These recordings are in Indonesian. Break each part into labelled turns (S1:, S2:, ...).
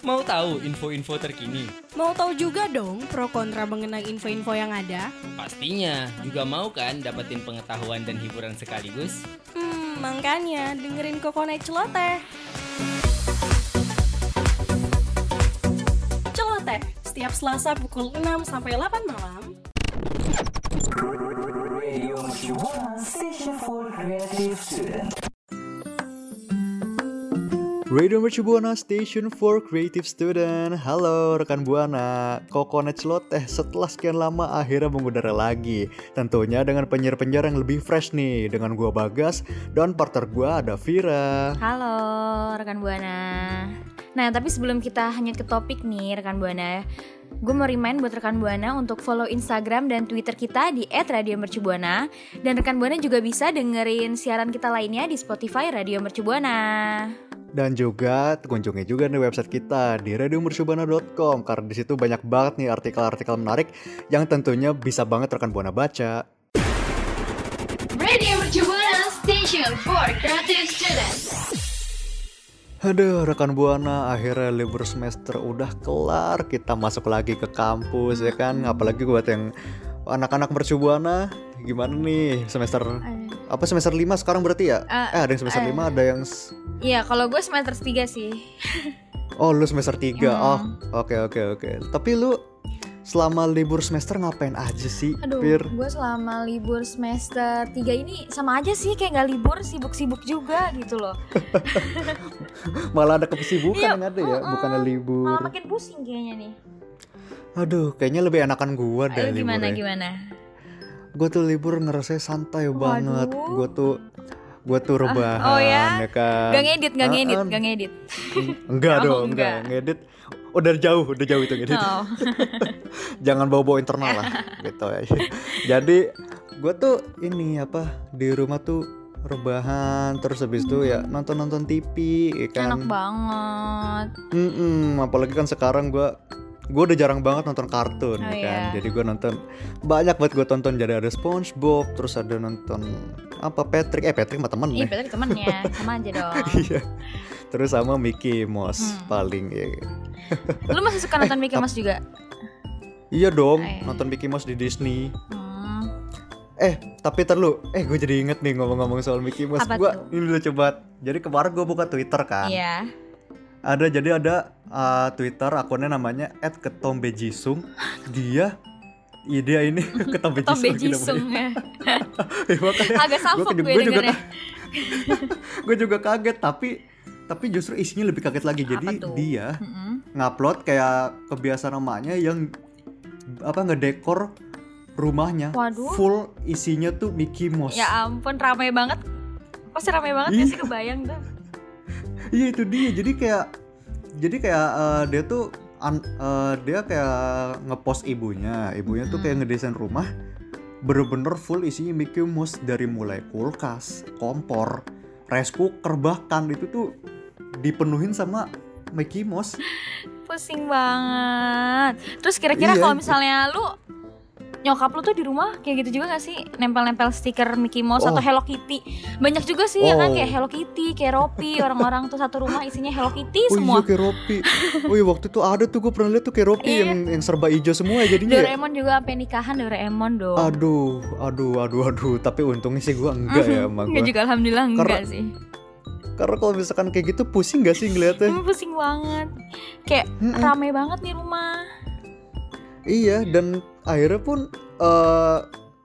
S1: Mau tahu info-info terkini?
S2: Mau tahu juga dong pro kontra mengenai info-info yang ada?
S1: Pastinya, juga mau kan dapetin pengetahuan dan hiburan sekaligus?
S2: Hmm, makanya dengerin Kokonet Celoteh. Celoteh, setiap Selasa pukul 6 sampai 8 malam.
S3: Radio Shibuya, station for creative students.
S4: Radio Mercu Buana Station for Creative Student. Halo rekan Buana, Kokonet Celoteh setelah sekian lama akhirnya mengudara lagi. Tentunya dengan penyiar-penyiar yang lebih fresh nih, dengan gua Bagas dan partner gua ada Vira.
S5: Halo rekan Buana. Nah, tapi sebelum kita hanyut ke topik nih rekan Buana, gue mau remind buat rekan Buana untuk follow Instagram dan Twitter kita di @radiomercubuana dan rekan Buana juga bisa dengerin siaran kita lainnya di Spotify Radio Mercubuana.
S4: Dan juga kunjungi juga nih website kita di radiomercubuana.com karena di situ banyak banget nih artikel-artikel menarik yang tentunya bisa banget rekan Buana baca.
S6: Radio Mercubuana Station for Creative Students.
S4: Aduh rekan Buana akhirnya libur semester udah kelar kita masuk lagi ke kampus ya kan apalagi buat yang anak-anak mercubuana gimana nih semester apa semester 5 sekarang berarti ya eh
S5: Eh,
S4: ada yang semester
S5: eh.
S4: 5 ada yang s-
S5: Iya, kalau gue semester 3 sih.
S4: oh lu semester 3
S5: Hmm.
S4: oh oke oke oke tapi lu selama libur semester ngapain aja sih
S5: Aduh,
S4: Fir?
S5: gue selama libur semester 3 ini sama aja sih kayak nggak libur, sibuk-sibuk juga gitu loh.
S4: malah ada kesibukan
S5: Iya,
S4: yang ada ya
S5: uh-uh.
S4: bukannya libur
S5: Malah makin pusing kayaknya nih.
S4: aduh kayaknya lebih enakan gua
S5: Ayo
S4: deh
S5: gimana
S4: liburnya.
S5: gimana?
S4: gue tuh libur ngerasa santai banget
S5: Waduh.
S4: gue tuh gue tuh rebahan
S5: oh ya?
S4: kan
S5: Gak ngedit, gak
S4: Ah,
S5: ngedit,
S4: ah.
S5: gak ngedit.
S4: enggak
S5: Oh,
S4: dong
S5: enggak.
S4: enggak ngedit udah jauh udah jauh itu ngedit
S5: Oh.
S4: jangan bawa bawa internal lah gitu ya jadi gue tuh ini apa di rumah tuh rebahan terus habis itu ya nonton nonton TV ya kan
S5: Hmm. Enak banget.
S4: Mm-mm, apalagi kan sekarang gue gue udah jarang banget nonton kartun
S5: Oh,
S4: ya kan,
S5: iya.
S4: jadi gue nonton banyak banget gue tonton jadi ada SpongeBob, terus ada nonton apa Patrick, eh Patrick sama temen nih,
S5: Ih, berarti temennya sama aja dong.
S4: iya, terus sama Mickey Mouse
S5: Hmm.
S4: paling ya,
S5: Lu masih suka nonton Mickey Mouse juga?
S4: iya dong
S5: Oh, iya.
S4: nonton Mickey Mouse di Disney,
S5: Hmm.
S4: eh tapi terlu, eh gue jadi inget nih ngomong-ngomong soal Mickey Mouse,
S5: Apa
S4: gue
S5: tuh?
S4: ini lucu banget, jadi kemarin gue buka Twitter kan,
S5: Iya.
S4: ada jadi ada uh, Twitter akunnya namanya @ketombejisung. Dia iya dia ini gitu ketombe
S5: Tom
S4: jisung.
S5: Bejisung ya.
S4: Agak
S5: Agak salfok gue
S4: gue Iya, juga,
S5: dengernya.
S4: gue juga kaget tapi tapi justru isinya lebih kaget lagi.
S5: Apa
S4: Jadi
S5: tuh?
S4: dia
S5: Mm-mm.
S4: ngupload kayak kebiasaan emaknya yang apa ngedekor rumahnya
S5: Waduh.
S4: full isinya tuh Mickey Mouse.
S5: Ya ampun, ramai banget. Pasti ramai banget ya
S4: Iya.
S5: sih kebayang tuh.
S4: Iya itu dia. Jadi kayak jadi kayak eh, dia tuh an- eh, dia kayak ngepost ibunya. Ibunya tuh kayak ngedesain rumah bener-bener full isinya Mickey Mouse dari mulai kulkas, kompor, rice cooker bahkan itu tuh dipenuhin sama Mickey Mouse.
S5: Pusing banget. Terus kira-kira
S4: Iya.
S5: kalau misalnya lu nyokap lu tuh di rumah kayak gitu juga gak sih nempel-nempel stiker Mickey Mouse
S4: Oh.
S5: atau Hello Kitty banyak juga sih ya
S4: Oh.
S5: kan kayak Hello Kitty, kayak Ropi orang-orang tuh satu rumah isinya Hello Kitty
S4: Oh
S5: semua
S4: iya Keropi. Oh iya waktu itu ada tuh gue pernah lihat tuh Keropi
S5: Iya.
S4: yang yang serba hijau semua ya jadinya. ya.
S5: Doraemon juga sampai nikahan Doraemon dong.
S4: Aduh, aduh, aduh, aduh. Tapi untungnya sih gue enggak ya sama
S5: Enggak
S4: gue.
S5: juga alhamdulillah enggak
S4: Karena-
S5: sih.
S4: Karena kalau misalkan kayak gitu pusing gak sih ngeliatnya?
S5: Emang pusing banget. Kayak
S4: Mm-mm.
S5: rame banget nih rumah.
S4: Iya dan akhirnya pun eh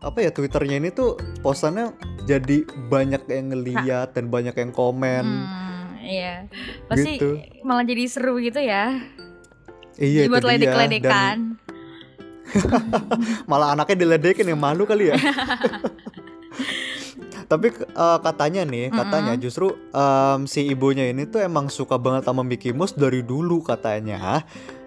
S4: apa ya twitternya ini tuh postannya jadi banyak yang ngeliat dan banyak yang komen.
S5: Hmm, iya.
S4: Kan.
S5: Pasti
S4: Gitu.
S5: malah jadi seru gitu ya.
S4: Iya
S5: buat
S4: itu dia. Dan
S5: ledek-ledekan.
S4: malah anaknya diledekin yang malu kali ya. Tapi eh, katanya nih, katanya justru em, si ibunya ini tuh emang suka banget sama Mickey Mouse dari dulu katanya.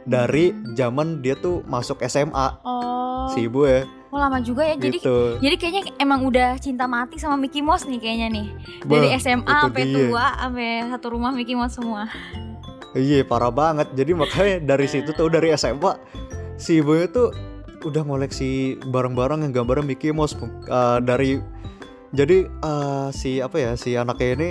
S4: Dari
S5: Mm.
S4: zaman dia tuh masuk SMA
S5: Oh.
S4: si ibu ya
S5: oh, lama juga ya. Jadi
S4: gitu.
S5: jadi kayaknya emang udah cinta mati sama Mickey Mouse nih kayaknya nih. Dari
S4: Bah,
S5: SMA
S4: itu
S5: sampai
S4: dia.
S5: tua sampai satu rumah Mickey Mouse semua.
S4: Iya parah banget. Jadi makanya dari situ tuh dari SMA si ibunya tuh udah ngoleksi barang-barang yang gambarnya Mickey Mouse Eh, dari jadi eh, si apa ya si anaknya ini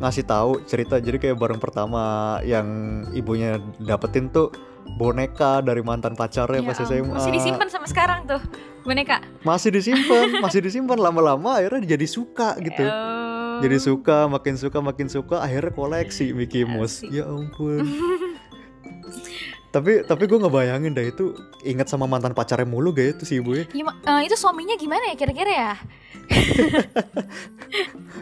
S4: ngasih tahu cerita jadi kayak barang pertama yang ibunya dapetin tuh boneka dari mantan pacarnya pas
S5: Ya ampun,
S4: SMA
S5: Masih disimpan sama sekarang tuh boneka.
S4: masih disimpan masih disimpan lama-lama akhirnya jadi suka gitu
S5: Oh.
S4: jadi suka makin suka makin suka akhirnya koleksi Mickey Mouse ya
S5: Iya, Koleksi.
S4: ampun tapi tapi gue ngebayangin dah itu ingat sama mantan pacarnya mulu gak ya itu si ibu ya
S5: Gima- eh, itu suaminya gimana ya kira-kira ya?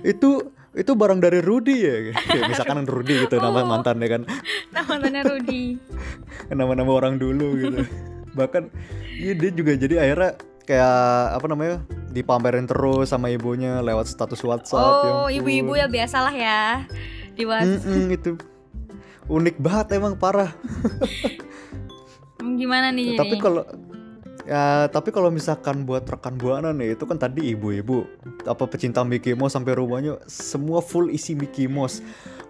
S4: itu itu barang dari Rudy ya Kayak misalkan Rudy gitu nama
S5: Oh.
S4: mantannya kan
S5: Namanya Rudy.
S4: nama-nama orang dulu gitu bahkan iya dia juga jadi akhirnya kayak apa namanya dipamerin terus sama ibunya lewat status WhatsApp ya
S5: oh,
S4: ampun.
S5: ibu-ibu ya biasalah ya. Di WhatsApp.
S4: Mm-mm, itu unik banget emang parah
S5: Hmm, Gimana nih?
S4: tapi
S5: ini?
S4: kalau ya tapi kalau misalkan buat rekan buana nih itu kan tadi ibu-ibu apa pecinta Mickey Mouse sampai rumahnya semua full isi Mickey Mouse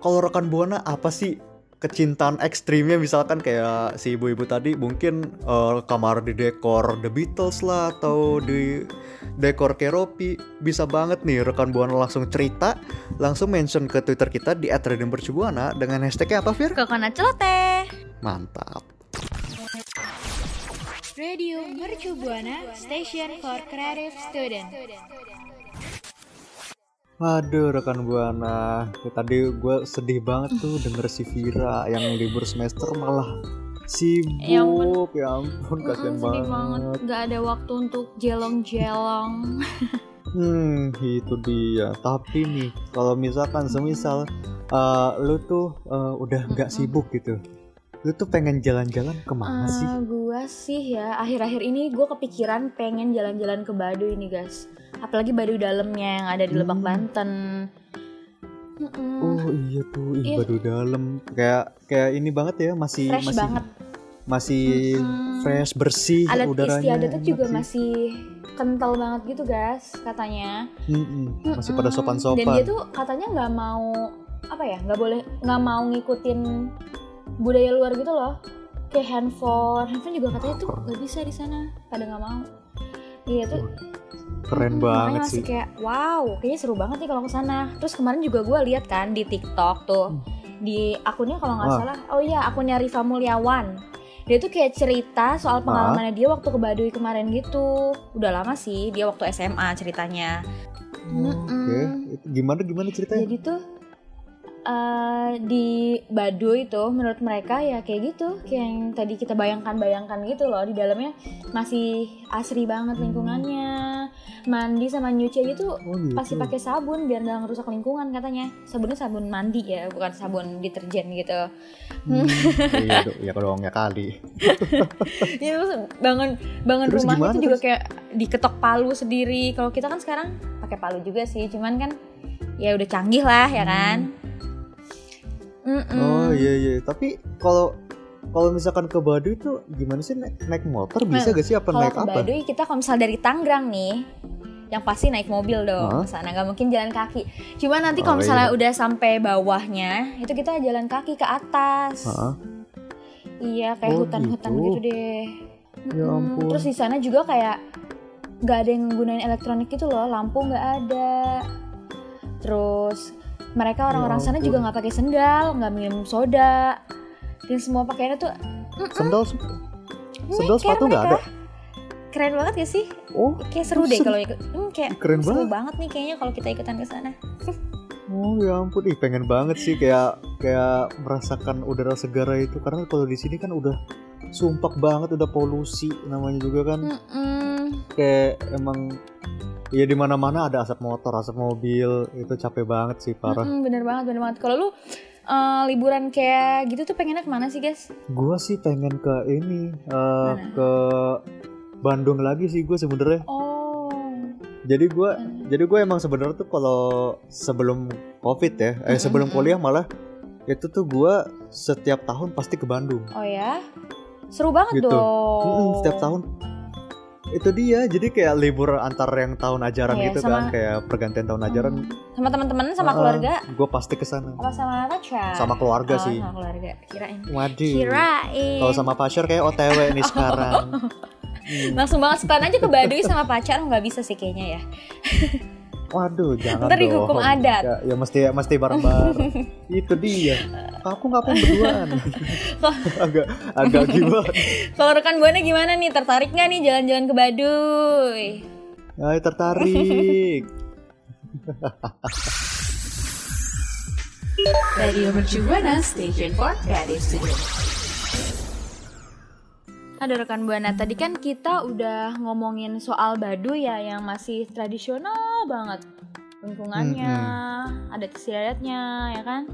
S4: kalau rekan buana apa sih kecintaan ekstrimnya misalkan kayak si ibu-ibu tadi mungkin eh, kamar di dekor The Beatles lah atau di dekor Keropi bisa banget nih rekan buana langsung cerita langsung mention ke Twitter kita di @radiomercubuana dengan hashtagnya apa Fir?
S5: Coconut celote.
S4: Mantap.
S7: Radio Mercu Buana Station for Creative Student.
S4: Waduh rekan buana, Ya, tadi gue sedih banget tuh denger si Vira yang libur semester malah sibuk. Ya
S5: Ya
S4: ampun,
S5: ampun.
S4: kasihan
S5: Mm-mm,
S4: banget.
S5: Hmm, sedih banget. Gak ada waktu untuk jelong-jelong.
S4: Hmm, itu dia. Tapi nih, kalau misalkan semisal eh, lu tuh eh, udah nggak sibuk gitu, lu tuh pengen jalan-jalan kemana sih?
S5: Eh, gua sih ya akhir-akhir ini gue kepikiran pengen jalan-jalan ke Baduy ini guys. Apalagi Baduy dalamnya yang ada di Lebak
S4: Hmm.
S5: Banten. Mm-mm.
S4: Oh iya tuh, ih
S5: Iya.
S4: baru dalam. Kayak kayak ini banget ya, masih
S5: Fresh
S4: masih
S5: banget.
S4: masih
S5: Mm-mm.
S4: fresh bersih
S5: Alat
S4: udaranya.
S5: istiadatnya
S4: enak
S5: juga
S4: sih.
S5: masih kental banget gitu guys katanya.
S4: Mm-mm, masih pada
S5: Mm-mm.
S4: sopan-sopan.
S5: Hmm, Dan dia tuh katanya nggak mau apa ya nggak boleh nggak mau ngikutin budaya luar gitu loh. Kayak handphone, handphone juga katanya tuh nggak bisa di sana. Pada nggak mau. Iya tuh
S4: keren
S5: Mm,
S4: banget
S5: makanya
S4: sih
S5: masih kayak wow kayaknya seru banget nih kalau ke sana terus kemarin juga gue lihat kan di TikTok tuh
S4: Hmm.
S5: di akunnya kalau nggak
S4: Wah.
S5: salah oh iya akunnya Riva Mulyawan dia tuh kayak cerita
S4: Ah.
S5: soal pengalamannya dia waktu ke Baduy kemarin gitu udah lama sih dia waktu SMA ceritanya
S4: oke itu gimana gimana ceritanya
S5: jadi tuh eh, di Baduy itu menurut mereka ya kayak gitu kayak yang tadi kita bayangkan-bayangkan gitu loh di dalamnya masih asri banget lingkungannya mandi sama nyuci aja tuh
S4: oh gitu
S5: pasti pakai sabun biar nggak ngerusak lingkungan katanya sabunnya sabun mandi ya bukan sabun deterjen gitu
S4: Hmm, iya dong ya dong ya kali
S5: ya terus bangun bangun
S4: Terus
S5: rumahnya
S4: gimana
S5: itu juga
S4: terus?
S5: kayak diketok palu sendiri kalau kita kan sekarang pakai palu juga sih cuman kan ya udah canggih lah ya kan Mm-mm.
S4: Hmm. oh iya iya tapi kalau kalau misalkan ke Baduy tuh gimana sih naik, naik motor bisa gak sih apa
S5: Nah, kalau
S4: naik
S5: ke
S4: apa
S5: Baduy kita kalau misal dari Tangerang nih yang pasti naik mobil
S4: Hah?
S5: dong ke sana nggak mungkin jalan kaki cuman nanti
S4: Oh,
S5: kalau misalnya
S4: iya.
S5: udah sampai bawahnya itu kita jalan kaki ke atas
S4: Heeh.
S5: Iya, kayak
S4: Oh,
S5: hutan-hutan
S4: gitu.
S5: gitu. deh.
S4: Ya
S5: Mm-mm.
S4: ampun.
S5: Terus di sana juga kayak nggak ada yang gunain elektronik gitu loh, lampu nggak ada. Terus mereka orang-orang
S4: Ya
S5: sana
S4: ampun.
S5: juga nggak pakai sendal, nggak minum soda, dan semua pakaiannya tuh
S4: sendal sendal
S5: nyeker
S4: sepatu nggak ada
S5: mereka. Keren banget ya sih?
S4: oh
S5: Kayak seru deh
S4: Sen-
S5: kalau ikut. Hmm, kayak
S4: Keren
S5: hmm, seru banget nih kayaknya kalau kita ikutan ke sana.
S4: oh ya ampun ih pengen banget sih kayak kayak merasakan udara segara itu karena kalau di sini kan udah sumpak banget udah polusi namanya juga kan
S5: Mm-mm.
S4: kayak emang ya di mana mana ada asap motor asap mobil itu capek banget sih parah
S5: Mm-mm, bener banget, bener banget. Kalau lu eh, liburan kayak gitu tuh pengennya kemana sih, guys?
S4: gua sih pengen ke ini eh, ke Bandung lagi sih gue sebenernya
S5: Oh.
S4: jadi gua jadi gue emang sebenernya tuh kalau sebelum covid ya eh sebelum kuliah malah itu tuh gua setiap tahun pasti ke Bandung
S5: Oh ya? Seru banget
S4: Gitu.
S5: dong.
S4: Mm-mm, setiap
S5: Oh.
S4: tahun itu dia jadi kayak libur antar yang tahun ajaran
S5: Iya,
S4: gitu kan
S5: sama-
S4: kayak pergantian tahun ajaran
S5: Hmm. Sama teman-teman, sama keluarga,
S4: gue pasti ke sana
S5: apa sama pacar?
S4: sama keluarga
S5: Oh,
S4: sih
S5: Sama keluarga, kirain.
S4: Waduh.
S5: Kirain.
S4: Kalau sama pacar kayak OTW nih sekarang.
S5: Oh, Langsung banget sekalian aja ke Baduy sama pacar nggak bisa sih kayaknya ya.
S4: Waduh, jangan
S5: Ntar
S4: dong.
S5: dihukum adat.
S4: Ya, ya mesti mesti bareng-bareng. Itu dia. Aku ngapain berduaan? agak agak gimana?
S5: Kalau rekan buana gimana nih? Tertarik nggak nih jalan-jalan ke Baduy?
S4: Ay, tertarik.
S8: Radio Mercubuana Station for Creative Students.
S5: Aduh rekan buana, tadi kan kita udah ngomongin soal Baduy ya yang masih tradisional banget lingkungannya, adat istiadatnya, ya kan?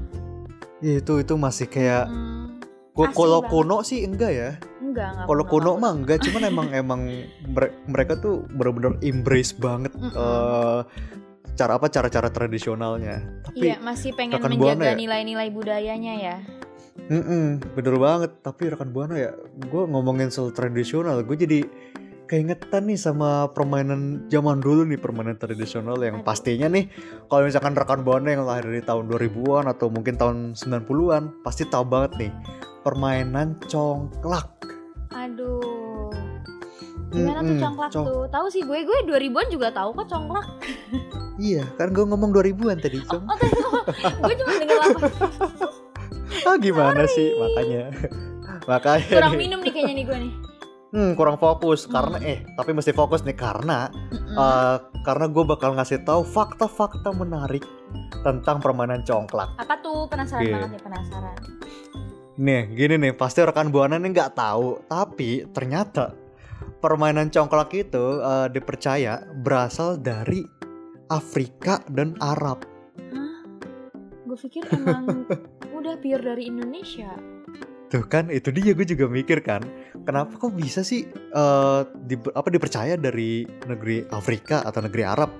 S4: itu itu masih kayak
S5: Hmm,
S4: Ko-
S5: Asli
S4: kalau
S5: banget.
S4: kuno sih enggak ya.
S5: enggak enggak.
S4: Kalau
S5: kuno,
S4: kuno mah enggak, cuman emang emang mere- mereka tuh bener-bener embrace banget
S5: Mm-mm.
S4: eh, cara apa cara-cara tradisionalnya. Tapi
S5: Iya, masih pengen
S4: rekan
S5: menjaga
S4: Buana ya?
S5: nilai-nilai budayanya ya.
S4: Mm-mm, bener banget. Tapi rekan buana ya, gue ngomongin soal tradisional, gue jadi keingetan nih sama permainan zaman dulu nih permainan tradisional yang
S5: Aduh.
S4: pastinya nih kalau misalkan rekan buana yang lahir dari tahun 2000-an atau mungkin tahun 90-an pasti tahu banget nih permainan congklak.
S5: Aduh. Gimana tuh
S4: Mm-mm,
S5: congklak
S4: cong-
S5: tuh? Tahu sih gue, gue 2000-an juga tahu kok congklak.
S4: Iya, kan gue ngomong 2000-an tadi. Cong.
S5: Oh, tadi gua- gue cuma dengar apa
S4: Ah, gimana sih makanya. makanya
S5: Oh, kurang
S4: nih.
S5: minum nih kayaknya nih gue nih.
S4: Hmm, kurang fokus karena eh tapi mesti fokus nih karena eh, karena gue bakal ngasih tahu fakta-fakta menarik tentang permainan congklak.
S5: Apa tuh penasaran
S4: Oke.
S5: banget nih penasaran.
S4: Nih, gini nih, pasti rekan buana nih nggak tahu, tapi ternyata permainan congklak itu eh, dipercaya berasal dari Afrika dan Arab.
S5: Hah? Gue pikir emang udah pure dari Indonesia.
S4: Tuh kan itu dia gue juga mikir kan kenapa kok bisa sih eh, di, apa dipercaya dari negeri Afrika atau negeri Arab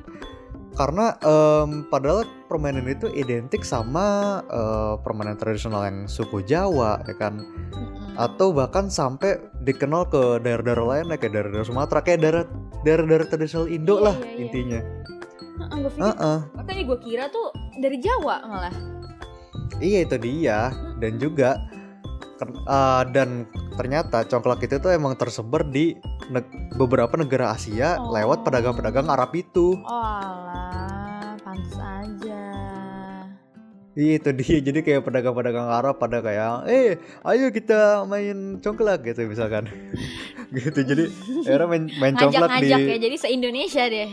S4: karena em, padahal permainan itu identik sama eh, permainan tradisional yang suku Jawa ya kan
S5: Mm-mm.
S4: atau bahkan sampai dikenal ke daerah-daerah lain ya, kayak daerah-daerah Sumatera kayak daerah daerah-daerah tradisional Indo
S5: Iya,
S4: lah
S5: iya, iya.
S4: intinya
S5: Heeh, gue pikir
S4: Heeh.
S5: makanya gue kira tuh dari Jawa malah.
S4: Iya itu dia dan juga ker- eh, dan ternyata congklak itu tuh emang tersebar di neg- beberapa negara Asia
S5: Oh.
S4: lewat pedagang-pedagang Arab itu.
S5: Oh alah, pantas aja.
S4: Iya itu dia jadi kayak pedagang-pedagang Arab pada kayak eh ayo kita main congklak gitu misalkan. gitu jadi akhirnya main, main congklak di
S5: Ngajak-ngajak ya, jadi se-Indonesia deh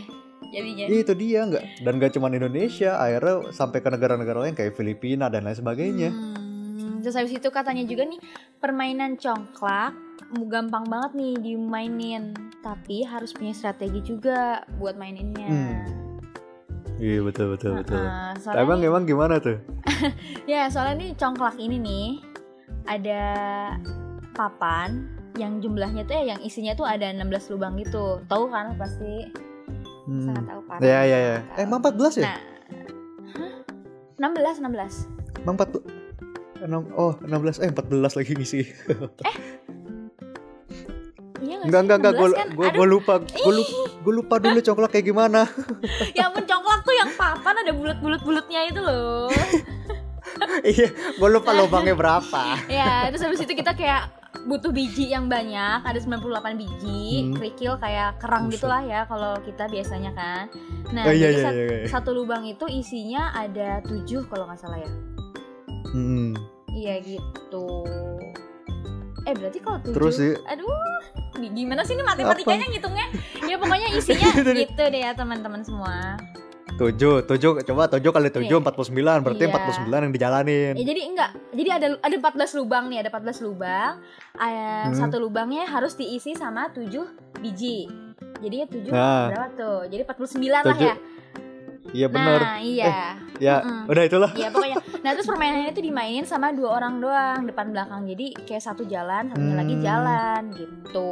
S5: jadinya.
S4: Iya, itu dia nggak dan nggak cuma di Indonesia akhirnya sampai ke negara-negara lain kayak Filipina dan lain sebagainya.
S5: Hmm, Terus habis itu katanya juga nih permainan congklak mu- gampang banget nih dimainin, tapi harus punya strategi juga buat maininnya.
S4: Hmm, Iya betul betul betul.
S5: Hmm. Heeh, soalnya
S4: Emang
S5: nih-
S4: emang gimana tuh?
S5: Ya, soalnya nih congklak ini nih ada papan yang jumlahnya tuh ya yang isinya tuh ada 16 lubang gitu. Tahu kan pasti?
S4: Hmm.
S5: Sangat tahu parah.
S4: Ya ya ya.
S5: Sangat
S4: Eh,
S5: tahu.
S4: emang 14 ya?
S5: Nah. Hah? 16 16.
S4: Emang 14 enam- oh 16 eh 14 lagi ngisi.
S5: Iya
S4: Enggak
S5: nggak sih?
S4: enggak enggak gue
S5: 16 kan?
S4: gue
S5: Aduh,
S4: lupa gue lupa gue lupa dulu coklat kayak gimana.
S5: Ya ampun congklak tuh yang papan ada bulat-bulat-bulatnya itu loh.
S4: Iya, gue lupa lubangnya berapa.
S5: ya, terus habis itu kita kayak butuh biji yang banyak, ada 98 biji,
S4: Hmm.
S5: kerikil kayak kerang
S4: Buset.
S5: gitulah ya kalau kita biasanya kan. Nah,
S4: Oh, iya
S5: jadi
S4: iya
S5: sat-
S4: iya. iya.
S5: satu lubang itu isinya ada 7 kalau nggak salah ya.
S4: Hmm.
S5: Iya gitu. Eh berarti kalau 7
S4: Terus sih
S5: Aduh, di- gimana sih ini matematikanya ngitungnya? Ya pokoknya isinya gitu deh ya teman-teman semua.
S4: Kan. 7 7 coba 7 kali 7
S5: Iya.
S4: 49 berarti
S5: Iya.
S4: 49 yang dijalanin.
S5: Ya, jadi enggak. Jadi ada ada 14 lubang nih, ada 14 lubang. Eh,
S4: Hmm.
S5: Satu lubangnya harus diisi sama 7 biji. Jadinya 7
S4: Nah.
S5: berapa tuh? Jadi 49 lah
S4: Tujuh.
S5: ya.
S4: Iya bener
S5: Nah, iya.
S4: Ya,
S5: mm-mm.
S4: udah itulah.
S5: Iya pokoknya. Nah, terus permainannya itu dimainin sama dua orang doang, depan belakang. Jadi kayak satu jalan, satunya lagi
S4: Hmm.
S5: jalan gitu.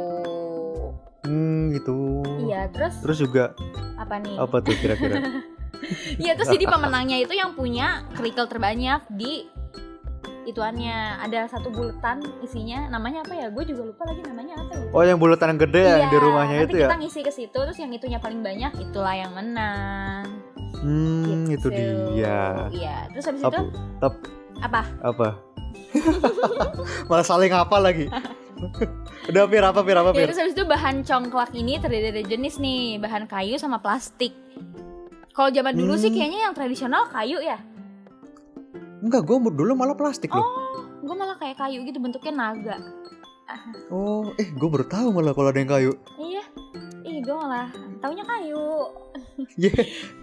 S4: Hmm, gitu.
S5: Iya, terus
S4: Terus juga
S5: apa nih?
S4: apa tuh kira-kira?
S5: Iya, terus jadi pemenangnya itu yang punya kerikil terbanyak di ituannya. Ada satu buletan isinya namanya apa ya? Gue juga lupa lagi namanya apa ya.
S4: Oh, yang bulatan yang gede ya, yang di rumahnya
S5: Iya, nanti
S4: itu ya.
S5: kita ngisi ke situ terus yang itunya paling banyak itulah yang menang.
S4: Hmm,
S5: gitu.
S4: itu dia.
S5: Iya, terus habis itu
S4: Apa? tap-
S5: apa?
S4: apa? Malah saling apa lagi? Udah Fir, apa Fir, apa
S5: Ya,
S4: Fir?
S5: terus habis itu bahan congklak ini terdiri dari jenis nih, bahan kayu sama plastik. Kalau zaman dulu
S4: Hmm.
S5: sih kayaknya yang tradisional kayu ya.
S4: Enggak, gue dulu malah plastik loh.
S5: Oh, gue malah kayak kayu gitu bentuknya naga.
S4: Oh, eh gue baru tahu malah kalau ada yang kayu.
S5: Iya. Ih, gue malah taunya kayu.
S4: Iya,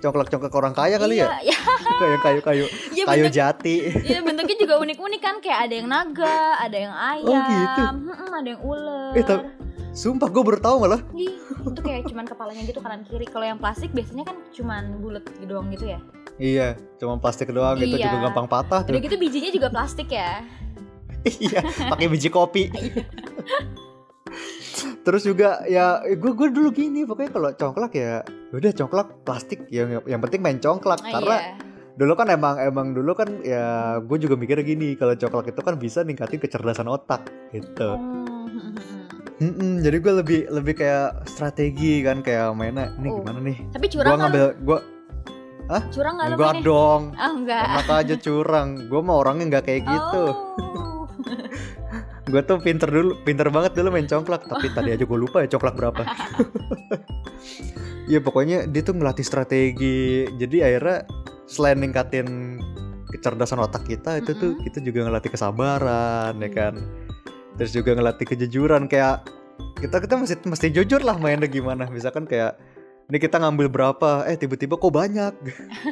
S4: congklak-congklak orang kaya kali ya.
S5: Iya,
S4: Kayak kayu-kayu,
S5: iya
S4: kayu
S5: bentuk-
S4: jati.
S5: iya, bentuknya juga unik-unik kan kayak ada yang naga, ada yang ayam,
S4: gitu.
S5: mm-mm, ada yang ular.
S4: Eh, tapi sumpah gue baru tahu malah.
S5: Ih, itu kayak cuman kepalanya gitu kanan kiri. Kalau yang plastik biasanya kan cuman bulat doang gitu ya.
S4: Iya, cuma plastik doang itu
S5: Iya.
S4: juga gampang patah
S5: Udah
S4: tuh.
S5: gitu bijinya juga plastik ya.
S4: Iya, pakai biji kopi.
S5: Iya.
S4: Terus juga ya gue gue dulu gini pokoknya kalau congklak ya udah congklak plastik yang yang penting main congklak
S5: Ah,
S4: karena
S5: iya.
S4: dulu kan emang emang dulu kan ya gue juga mikirnya gini kalau coklat itu kan bisa ningkatin kecerdasan otak gitu
S5: Hmm.
S4: Mm-mm, jadi gue lebih lebih kayak strategi kan kayak mainnya ini
S5: Oh.
S4: gimana nih
S5: Tapi
S4: gue
S5: curang nggak lu?
S4: ngambil gue
S5: Curang nggak lu
S4: enggak
S5: mainnya?
S4: dong
S5: Ah, enggak.
S4: maka aja curang gue mah orangnya nggak kayak gitu
S5: Oh.
S4: gue tuh pinter dulu pinter banget dulu main congklak tapi tadi aja gue lupa ya congklak berapa ya pokoknya dia tuh ngelatih strategi jadi akhirnya selain ningkatin kecerdasan otak kita itu tuh
S5: Mm-mm.
S4: kita juga ngelatih kesabaran ya kan terus juga ngelatih kejujuran kayak kita kita mesti mesti jujur lah mainnya gimana misalkan kayak ini kita ngambil berapa eh tiba-tiba kok banyak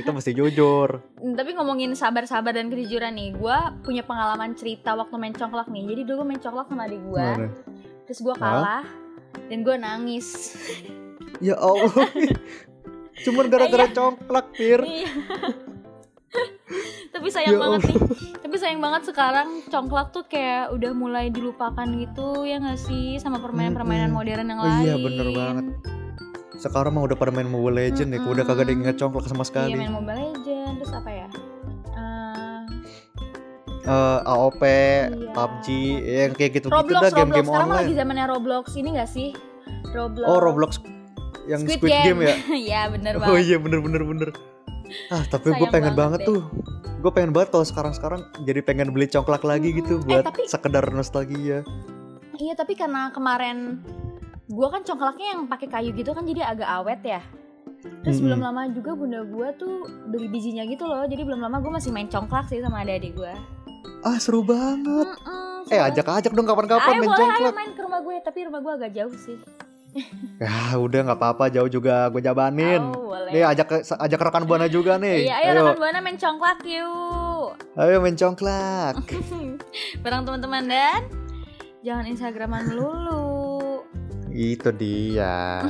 S4: kita mesti jujur
S5: Hmm, Tapi ngomongin sabar-sabar dan kejujuran nih, gue punya pengalaman cerita waktu main congklak nih. Jadi dulu main congklak sama adik gue,
S4: Gimana?
S5: terus gue kalah dan gue nangis.
S4: ya allah cuman gara-gara congklak pir
S5: Iya. Tapi sayang
S4: Ya
S5: banget nih. Tapi sayang banget sekarang congklak tuh kayak udah mulai dilupakan gitu ya nggak sih sama permainan-permainan
S4: Mm-mm.
S5: modern yang
S4: Oh
S5: lain.
S4: iya, bener banget. sekarang mah udah pada main Mobile Legend ya, udah kagak ada yang ingat congklak sama
S5: Iya
S4: sekali.
S5: main Mobile Legend, terus apa ya? Eh,
S4: Eh, AOP,
S5: Iya.
S4: PUBG, ya, yang kayak gitu-gitu
S5: Roblox,
S4: dah
S5: Roblox.
S4: game-game
S5: Sekarang mah lagi
S4: online.
S5: zamannya Roblox ini nggak sih? Roblox.
S4: Oh Roblox yang Squid, Game. ya?
S5: Iya bener banget.
S4: Oh iya bener-bener bener. Ah tapi gue
S5: Sayang
S4: pengen
S5: banget
S4: banget, tuh.
S5: deh.
S4: Gue pengen banget kalau sekarang-sekarang jadi pengen beli congklak lagi
S5: Mm-mm.
S4: gitu
S5: Eh,
S4: buat
S5: tapi-
S4: sekedar nostalgia.
S5: Iya tapi karena kemarin gua kan congklaknya yang pakai kayu gitu kan jadi agak awet ya. Terus
S4: Mm-mm.
S5: belum lama juga bunda gua tuh beli bijinya gitu loh. Jadi belum lama gua masih main congklak sih sama adik-adik gua.
S4: Ah seru banget.
S5: Mm-mm,
S4: Eh
S5: seru.
S4: ajak-ajak dong
S5: Ayo
S4: kapan-kapan main
S5: boleh ayo
S4: congklak.
S5: main ke rumah gue tapi rumah gue agak jauh sih.
S4: Ya udah nggak apa-apa jauh juga gue jabanin.
S5: Oh, boleh.
S4: Nih ajak ke- ajak rekan buana juga nih.
S5: Iya, ayo, rekan buana main congklak yuk.
S4: ayo main congklak.
S5: Barang teman-teman dan jangan instagraman melulu.
S4: Itu dia.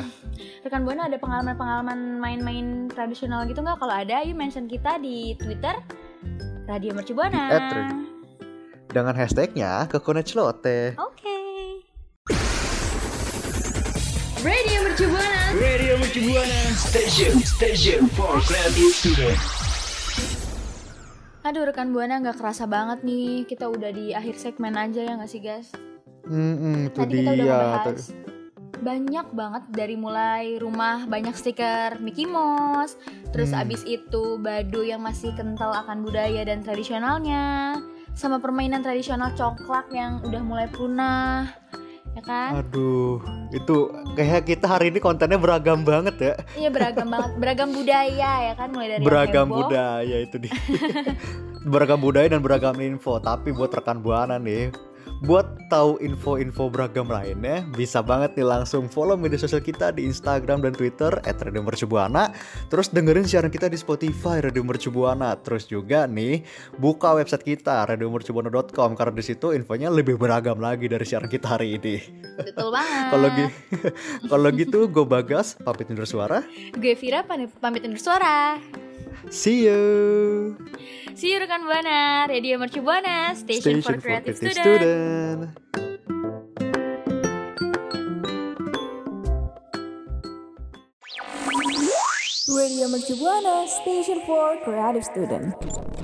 S5: Rekan Buana kan, ada pengalaman-pengalaman main-main tradisional gitu nggak? Kalau ada, yuk mention kita di Twitter Radio Merci Buana.
S4: Di at Radio. Dengan hashtagnya ke Koneclote.
S5: Oke.
S6: Radio Mercu Buana.
S1: Radio Mercu Buana.
S9: Station, station for creative students.
S5: Aduh rekan Buana nggak kerasa banget nih. Kita udah di akhir segmen aja ya nggak sih guys?
S4: Hmm, itu
S5: Tadi
S4: dia.
S5: kita udah ngebahas kan?
S4: Tuh.
S5: banyak banget dari mulai rumah banyak stiker Mickey Mouse, terus
S4: Hmm.
S5: abis itu badu yang masih kental akan budaya dan tradisionalnya, sama permainan tradisional congklak yang udah mulai punah, ya kan?
S4: Aduh, itu kayak kita hari ini kontennya beragam banget ya.
S5: Iya beragam banget, beragam budaya ya kan mulai dari yang
S4: beragam
S5: heboh.
S4: budaya itu dia. beragam budaya dan beragam info. Tapi buat rekan buana nih, buat tahu info-info beragam lainnya, bisa banget nih langsung follow media sosial kita di Instagram dan Twitter @radiomercubuana. Terus dengerin siaran kita di Spotify Radio Mercubuana. Terus juga nih buka website kita radiomercubuana.com karena di situ infonya lebih beragam lagi dari siaran kita hari ini.
S5: Betul banget.
S4: Kalau gitu, kalau gitu gue bagas pamit undur suara.
S5: gue Vira pamit, pamit undur suara.
S4: See you.
S5: See you rekan Buana, Radio Mercu Buana, Station, for Creative,
S4: Student.
S5: Student.
S8: Radio Mercu Buana, Station for Creative Student.